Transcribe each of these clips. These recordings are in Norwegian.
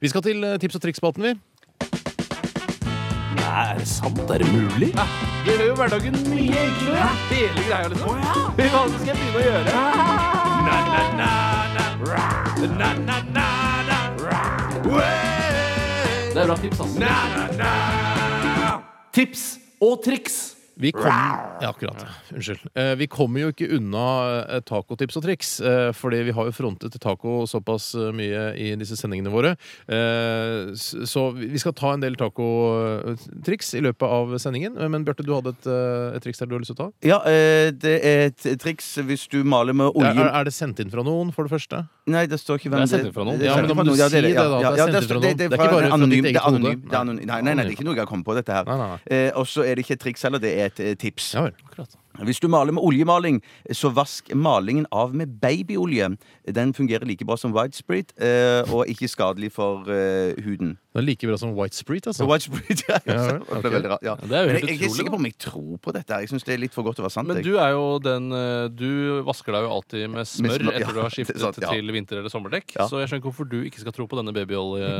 Vi skal til eh, tips og triks-spalten, vi. Nei, er det sant? Er det mulig? Det gjør jo hverdagen mye enklere. Hele greia, liksom. Hva skal jeg begynne å gjøre? Det er bra tips, ass. Tips og triks. Vi kom, ja, akkurat. Unnskyld. Eh, Vi kommer jo ikke unna eh, tacotips og triks, eh, fordi vi har jo frontet taco såpass eh, mye i disse sendingene våre. Eh, s- Så vi vi skal ta en del tacotriks i løpet av sendingen. Eh, Men Bjarte, du hadde et, eh, et triks der du har lyst til å ta? Ja, eh, det er et triks hvis du maler med olje Er, er- er det sendt inn fra noen, for det første? Nei, det står ikke hvem Det er sendt inn fra noen. er Ja, men sendt da må du inn fra noen. si er det, da, at Ja, det er ja, sendt inn fra står- noen. Det er fra- ikke bare fra ditt anonym, eget det er hode. anonym, det er anonym. Nei, nei, nei, det er ikke noe jeg har kommet på, dette her. Nei, nei, nei. Eh, og så er det ikke et triks heller, det er et eh, tips. Ja vel. Hvis du maler med oljemaling, så vask malingen av med babyolje. Den fungerer like bra som white sprit, eh, og ikke skadelig for eh, huden. Det er like bra som White Street, altså. Så white sprit, ja. Ja, vel, Det ok. ble veldig rart, ja. Ja, det er jo Men helt jeg, jeg er ikke utrolig, sikker da. på om jeg tror på dette. her. Jeg syns det er litt for godt til å være sant. Men jeg. du er jo den eh, Du vasker deg jo alltid med smør smør, ja, etter det du har er skiftet sant, ja. til vinter- eller sommerdekk. Ja. Så jeg skjønner ikke hvorfor du ikke skal tro på denne babyolje...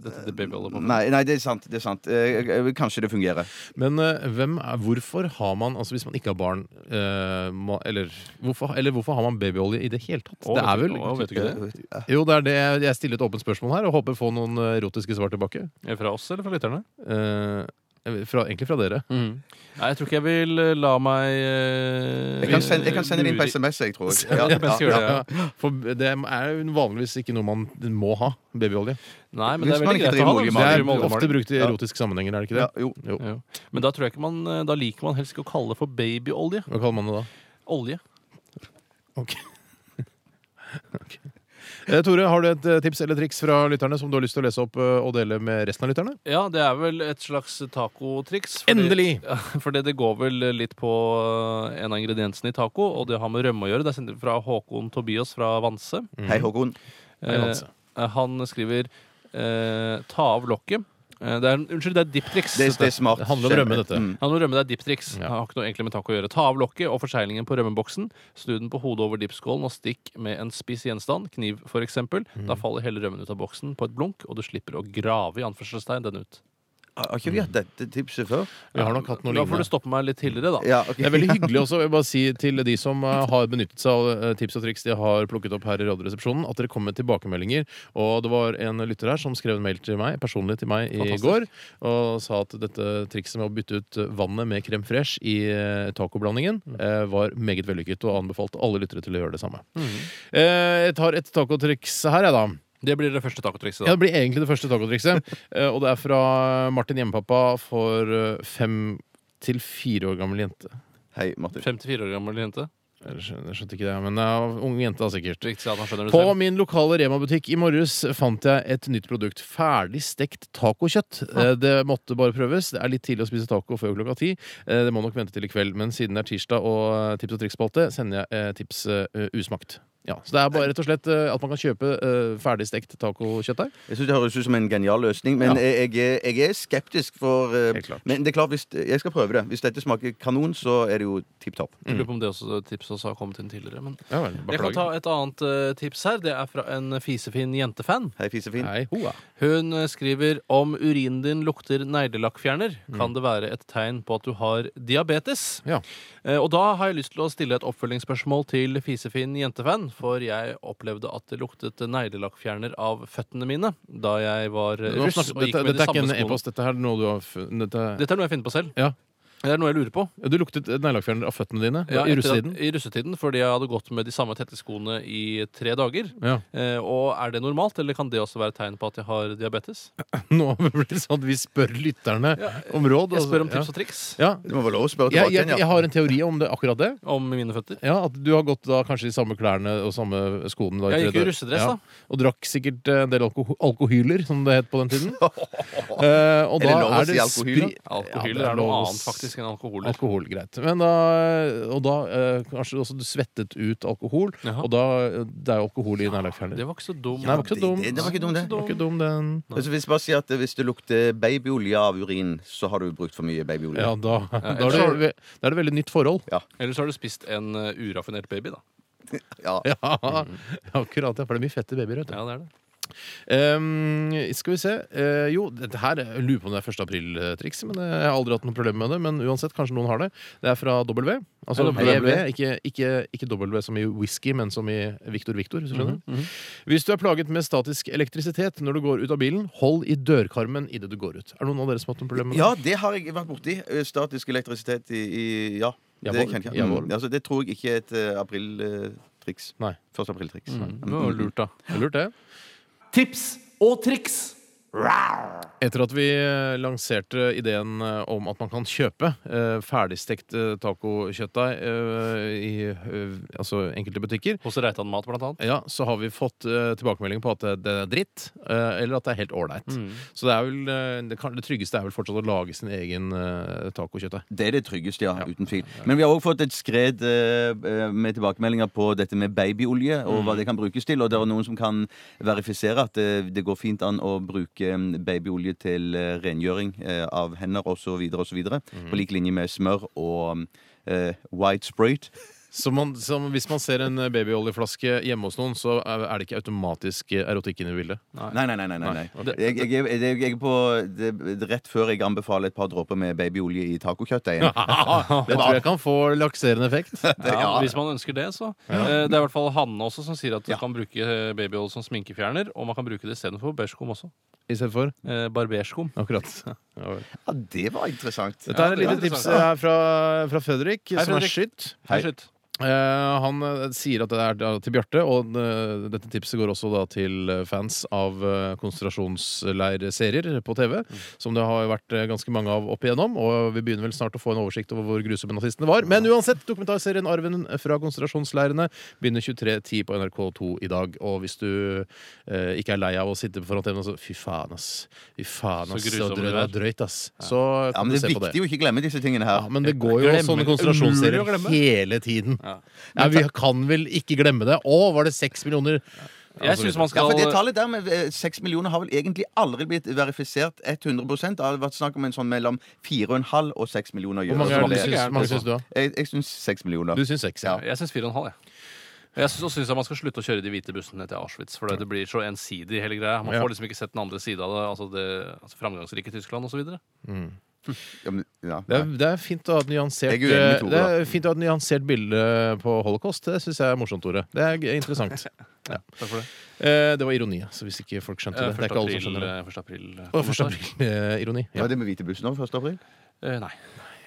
Dette det babyolje på. Nei, nei, det er sant. det er sant Eh, eh, Kanskje det fungerer. Men eh, hvem er, hvorfor har man, altså hvis man ikke har barn, eh, ma- eller, hvorfor, eller hvorfor har man babyolje i det hele tatt? Å, det er vet vel du- å, vet du ikke det? Eh, Jo, det er det jeg- jeg stiller et åpent spørsmål her, og håper å få noen eh, erotiske svar tilbake. Er det Fra oss eller fra lytterne? Eh, jeg vet- fra, egentlig fra dere. Mhm. Nei, jeg tror ikke jeg vil eh, la meg eh, Jeg kan sende, jeg kan sende det inn på lure- SMS, jeg tror. jeg. Ja, men jeg skal gjøre det, ja. For det er jo vanligvis ikke noe man må ha, babyolje. Nei, men det Hvis man er ikke veldig greit å ha. driver da, hvis Det med man er driver med ofte oljemaling. brukt i erotiske sammenhenger, er det ikke Ja, det? jo. Jo. Jo. Men da tror jeg ikke man eh, Da liker man helst ikke å kalle det for babyolje. Hva kaller man det da? Olje. Ok. Ok. Eh, Tore, har du et eh, tips eller triks fra lytterne som du har lyst til å lese opp eh, og dele med resten av lytterne? Ja, det er vel et slags tacotriks. fordi- Endelig! Ja, for det, det går vel litt på eh, en av ingrediensene i taco, og det har med rømme å gjøre. Det er sendt fra Håkon Tobias fra Vanse. Hei, Håkon. Hei, Vanse. Eh, han skriver eh, ta av lokket. Eh, det er, unnskyld, det er dip-triks. Det, det er smart. Det handler om rømme, dette. Mm. Han må rømme deg diptrix. Ja. Har ikke noe egentlig med taco å gjøre. Ta av lokket og forseglingen på rømmeboksen. Snu den på hodet over dipskålen og stikk med en spiss gjenstand, kniv f.eks. Mm. Da faller hele rømmen ut av boksen på et blunk, og du slipper å grave i anførselstegn den ut. Har har ikke vi hatt dette tipset før? Vi har nok hatt noe Da får lignende. du stoppe meg litt tidligere, da. Ja, ok. Det er veldig hyggelig også, jeg vil bare si til de som eh, har benyttet seg av eh, tips og triks de har plukket opp her i Radioresepsjonen, at dere kommer med tilbakemeldinger. Og det var en lytter her som skrev en mail til meg, personlig til meg i Fantastisk. går og sa at dette trikset med å bytte ut vannet med krem fresh i eh, tacoblandingen eh, var meget vellykket, og anbefalte alle lyttere til å gjøre det samme. Eh, Jeg tar et tacotriks her, jeg, da. Det blir det første tacotrikset, Ja, da. det blir egentlig det første tacotrikset. Eh, Og det er fra Martin Hjemmepappa for eh, fem til fire år gammel jente. Hei, Martin. 54 år gammel jente. Jeg skjønner, jeg skjønte ikke det, men ja, ung jente da sikkert. Riktig at han skjønner det På selv. min lokale Rema-butikk i morges fant jeg et nytt produkt. Ferdig stekt tacokjøtt. Eh, Det måtte bare prøves. Det er litt tidlig å spise taco før klokka ti. Eh, Det må nok vente til i kveld, men siden det er tirsdag og eh, tips og triks-spalte, sender jeg eh, tips eh, usmakt. Ja, så det er bare rett og slett eh, at man kan kjøpe eh, ferdig stekt tacokjøtt der. Jeg syns det høres ut som en genial løsning, men Ja. jeg, jeg, er- jeg er skeptisk for eh, Helt klart. Men det er klart, hvis jeg skal prøve det. Hvis dette smaker kanon, så er det jo tipp topp. Jeg Mm. Lurer på om det også tipset også har kommet inn tidligere. Men Ja vel, jeg kan ta et annet eh, tips her. Det er fra en fisefin jentefan. Hei, fisefin. Nei, hoa. Hun eh, skriver om urinen din lukter neglelakkfjerner, kan det være et tegn på at du har diabetes. Mm. Ja. Eh, Og da har jeg lyst til å stille et oppfølgingsspørsmål til fisefin jentefan, for jeg opplevde at det luktet neglelakkfjerner av føttene mine da jeg var eh, Nå russ snakker- og gikk Dette, med dette er de ikke en samme skoene. e-post, dette her er noe du har funnet dette- Dette er noe jeg finner på selv. Ja. Det er noe jeg lurer på. Du luktet neglelakkfjerner av føttene dine Ja, i etter at- russetiden. I russetiden, fordi jeg hadde gått med de samme tette skoene i tre dager. Ja. Eh, Og er det normalt, eller kan det også være et tegn på at jeg har diabetes? Nå blir det sånn at vi spør lytterne om råd. Jeg spør om altså. tips og triks Ja. Ja. Det må være lov å spørre Jeg, tilbake jeg, igjen, jeg har en teori om det, akkurat det. om mine føtter. Ja, At du har gått da kanskje i samme klærne og samme skoene. Da, i tre Jeg gikk jo i dager. russedress, da. Og drakk sikkert eh, en del alko alkohyler, som det het på den tiden. Eh, og Er det da lov å er det si alkohyl, spri- Ja, Alkohyl det er, noe lov å annet faktisk enn alkoholer. Alkohol, greit. Men da, og da eh, kanskje også du svettet ut alkohol, Jaha. og da det er jo alkohol i neglelakkfjerner. Det var ikke så dumt. Nei, det var ikke så ja. dum. Det, det var ikke dumt, det. Det var ikke dum, den. Altså, hvis, bare si at hvis det lukter babyolje av urin, så har du brukt for mye babyolje. Ja, da, da, jeg er det, da er det veldig nytt forhold. Eller så har du spist en eh, uraffinert baby, da. Ja. Mm. Ja, akkurat. Ja, for det er mye fett i babyer. vet du. Ja, det er det. Ehm, skal vi se Eh, Jo, dette her jeg lurer på om det er 1. april-triks, men eh, jeg har aldri hatt noe problem med det. Men uansett, kanskje noen har det. Det er fra W. Altså Ja, WW, W. ikke, ikke, ikke W som i whisky, men som i Victor Victor. Hvis du skjønner. Hvis du er plaget med statisk elektrisitet når du går ut av bilen, hold i dørkarmen idet du går ut. Er det noen av dere som har hatt noe problem med det? Ja, det har jeg vært borti. Eh, Statisk elektrisitet i, i Ja. Det, Jawohl, kan jeg. jawohl. Mm, altså, det tror jeg ikke er et eh, april-triks. Nei. 1. april-triks. Det var jo lurt, da. Det er Lurt, det. Tips og triks. Etter at vi eh, lanserte ideen eh, om at man kan kjøpe eh, ferdigstekt eh, tacokjøttdeig eh, i eh, altså enkelte butikker, Hos Reitan Mat, blant annet. ja, så har vi fått eh, tilbakemelding på at det, det er dritt, eh, eller at det er helt ålreit. Mm. Så det, er vel, eh, det, kan, det tryggeste er vel fortsatt å lage sin egen eh, tacokjøttdeig. Det er det tryggeste, ja. Uten tvil. Men vi har også fått et skred eh, med tilbakemeldinger på dette med babyolje, og Mm. hva det kan brukes til. Og det er noen som kan verifisere at eh, det går fint an å bruke eh, babyolje til eh, rengjøring eh, av hender osv., osv. Mm. På lik linje med smør og eh, white sprayt. Så man, som hvis man ser en eh, babyoljeflaske hjemme hos noen, så er er det ikke automatisk eh, erotikk inne i bildet. Nei, nei, nei. nei, nei. ok. Jeg, jeg, er- jeg, er på det, det er Rett før jeg anbefaler et par dråper med babyolje i tacokjøttdeigen. Det tror jeg kan få lakserende effekt. Ja, hvis man ønsker det, så. Eh, Det er i hvert fall Hanne også som sier at du kan bruke eh, babyolje som sminkefjerner, og man kan bruke det istedenfor berskum også. Istedenfor. Eh, Barberskum. Akkurat. Ja, vel. Ja, det var interessant. Dette er et det er lite tips interessant. her fra, fra Fredrik, Hei, som er Fredrik. skytt. Hei, slutt. Eh, han eh, sier at det er da til Bjarte, og eh, dette tipset går også da til eh, fans av eh, konsentrasjonsleirserier på TV, Mm. som det har vært eh, ganske mange av opp igjennom, og vi begynner vel snart å få en oversikt over hvor grusomme nazistene var. Men uansett, dokumentarserien 'Arven fra konsentrasjonsleirene' begynner 23.10 på NRK2 i dag, og hvis du eh, ikke er lei av å sitte foran TV-en, så fy faen, ass. Fy faen, Så ass. Så grusomme drøyt, det det er drøyt, ass. Så Ja, kan men du Det er se på det. viktig å ikke glemme disse tingene her. Ja, men det går jo Glemmer- sånne umulig å konsentrasjonsserier glemme. hele tiden. Ja. Nei, vi kan vel ikke glemme det. Å, var det seks millioner? Jeg syns Ja, man skal for Det tallet der med eh, 6 millioner har vel egentlig aldri blitt verifisert 100 Det har vært snakk om en sånn mellom 4,5 og 6 millioner Hvor euro. mange, det er var det, ikke så syns, gærent, mange liksom. syns du, da? Jeg, jeg syns 6 millioner. Du syns seks, ja. Jeg syns 4,5, jeg. Jeg syns også synes jeg man skal slutte å kjøre de hvite bussene til Auschwitz. For det blir så ensidig, hele greia. Man Ja. får liksom ikke sett den andre sida av det. Altså det altså framgangsrike Tyskland osv. Ja, men- ja. Det er, det er fint å ha et nyansert, eh, Jeg er uenig med Tore, det er fint å ha et nyansert bilde på holocaust. Det syns jeg er morsomt, Tore. Det er g- interessant. Første Eh, Det var ironi, altså, hvis ikke folk skjønte det. Det er ikke alle som april. skjønner det. eh, Første april, eh, Å, Første kommentar. april-ironi. eh, Var Ja. det med hvite bussen over 1. april? Eh, Nei.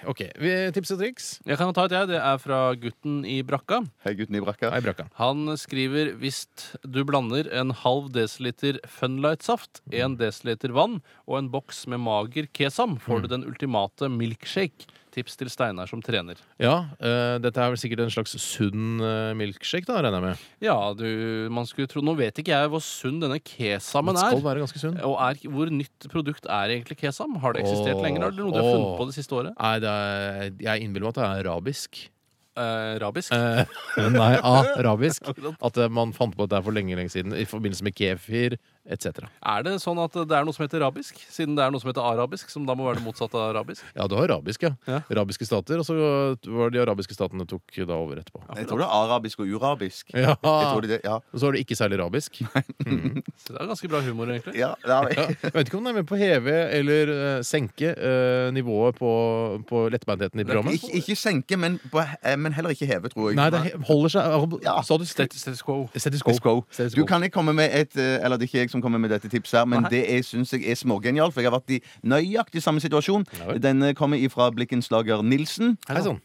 OK. vi- Tips og triks? Jeg kan ta et, jeg. Det er fra gutten i brakka. Hei, gutten i brakka. Nei, brakka. Han skriver hvis du blander en halv desiliter Funlight-saft, en desiliter vann og en boks med mager kesam, Mm. får du den ultimate milkshake. Tips til Steinar som trener. Ja, eh, dette er vel sikkert en slags sunn eh, milkshake, da, regner jeg med. Ja, du, man skulle tro Nå vet ikke jeg hvor sunn denne Den kesamen skal er. være ganske sunn. Og er, hvor nytt produkt er egentlig kesam? Har det eksistert Åh, lenger? eller Er det noe du har funnet åh. på det siste året? Nei, det er, jeg innbiller meg at det er arabisk. Eh, arabisk? Eh, Nei, arabisk. At eh, man fant på at det er for lenge lenge siden i forbindelse med kefir etc. Er det sånn at det er noe som heter arabisk? Siden det er noe som heter arabisk, som da må være det motsatte av arabisk? Ja, du har arabisk, ja. Ja. Arabiske stater. Og så var de arabiske statene tok da over etterpå. Jeg tror det er arabisk og urabisk. Ja. Jeg tror det, er det, ja. Og så har du ikke særlig arabisk. Så det er ganske bra humor, egentlig. Ja, ja, Ja. Jeg vet ikke om det er med på å heve eller eh, senke eh, nivået på, på lettbeintheten i programmet. Ikke, ikke senke, men, på, eh, men heller ikke heve, tror jeg. Nei, det he- holder seg Ja. Sa du stet- Status status quo. status Let's quo? go. Status Du quo. kan ikke komme med et eh, Eller det er ikke jeg som kommer med dette tipset, her men Nei. det syns jeg er smågenialt. For jeg har vært i nøyaktig samme situasjon. Ja vel. Denne kommer ifra blikkenslager Nilsen. Hei sånn. sann.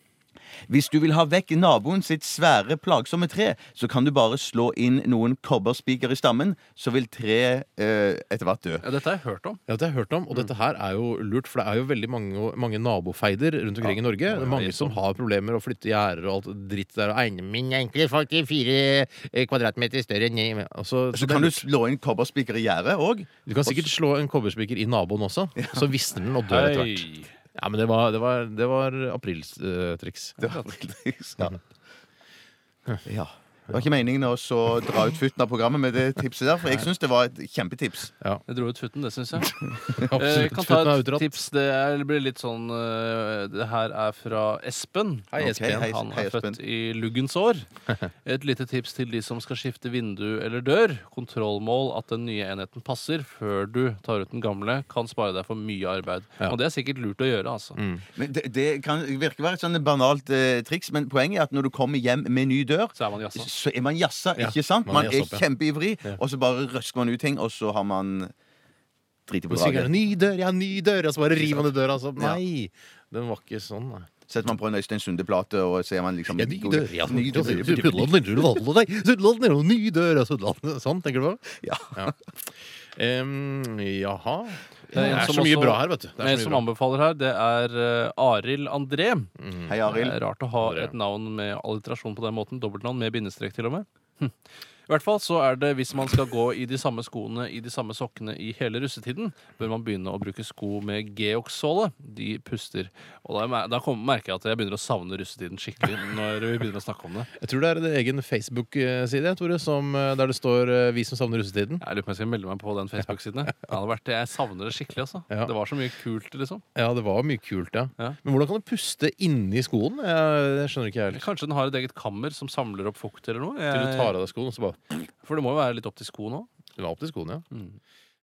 Hvis du vil ha vekk naboen sitt svære, plagsomme tre, så kan du bare slå inn noen kobberspiker i stammen, så vil treet eh, etter hvert dø. Ja, dette har jeg hørt om. Ja, det har jeg hørt om, og dette her er jo lurt, for det er jo veldig mange, mange nabofeider rundt omkring i Norge. Det er mange som har problemer å flytte gjerder og alt dritt der. Og eiendommen min er egentlig faktisk fire eh, kvadratmeter større enn jeg- og så, Så så kan du det- slå inn kobberspiker i gjerdet òg. du kan sikkert slå en kobberspiker i naboen også, så visner den og dør etter hvert. Hei. Ja, men det var, det var, det var aprilstriks. Ja. ja. Det var ikke meningen å så dra ut futten av programmet med det tipset der, for jeg syns det var et kjempetips. Jeg dro ut futten, det syns jeg. Eh, Absolutt. kan Futten ta er et utdratt. tips. Det er, det blir litt sånn eh, Det her er fra Espen. Hei, Ok, Espen. hei, Han hei, er Espen. født i luggens år. Et lite tips til de som skal skifte vindu eller dør. Kontrollmål at den nye enheten passer før du tar ut den gamle, kan spare deg for mye arbeid. Ja. Mm. Og det er sikkert lurt å gjøre, altså. Men det, det kan virke være et sånn banalt eh, triks, men poenget er at når du kommer hjem med ny dør Så er man jassa. så er man jassa, Ja, ikke sant? man er Man er jassa opp, ja. kjempeivrig, og så bare røsker man ut ting, og så har man driti på Og sikkert, draget. Ny dør, ja, ny dør! Og så bare river man ut døra. Altså. Nei! Den var ikke sånn, nei. Setter man på en Øystein Sunde-plate, og så er man liksom Ja, ny dør, ja, Ny dør. ny dør, Sånn, tenker du på? Ja. ja. Em, jaha. Det er en er så som mye også- bra her, vet du. Det Men er så mye som bra. anbefaler her, det er eh, Arild André. Hei, Det Arild. er rart å ha André. et navn med alliterasjon på den måten. Dobbeltnavn med bindestrek, til og med. Hm. I hvert fall så er det Hvis man skal gå i de samme skoene i de samme sokkene i hele russetiden, bør man begynne å bruke sko med geox-såle. De puster. Og da, mer- da kommer, merker jeg at jeg begynner å savne russetiden skikkelig når vi begynner å snakke om det. Jeg tror det er en egen Facebook-side Tore, som, eh, der det står eh, 'Vi som savner russetiden'. Jeg lurer på om jeg skal melde meg på den Facebook-siden. jeg. Det hadde vært det. Jeg savner det skikkelig, altså. Ja. Det var så mye kult, liksom. Ja, det var mye kult, ja. Ja. Men hvordan kan du puste inni skoen? Jeg, jeg skjønner ikke helt. Kanskje den har et eget kammer som samler opp fukt eller noe? Til du Jeg, tar av deg skoen, og så bare for det må jo være litt opp til skoen òg. Den var opp til skoen, ja.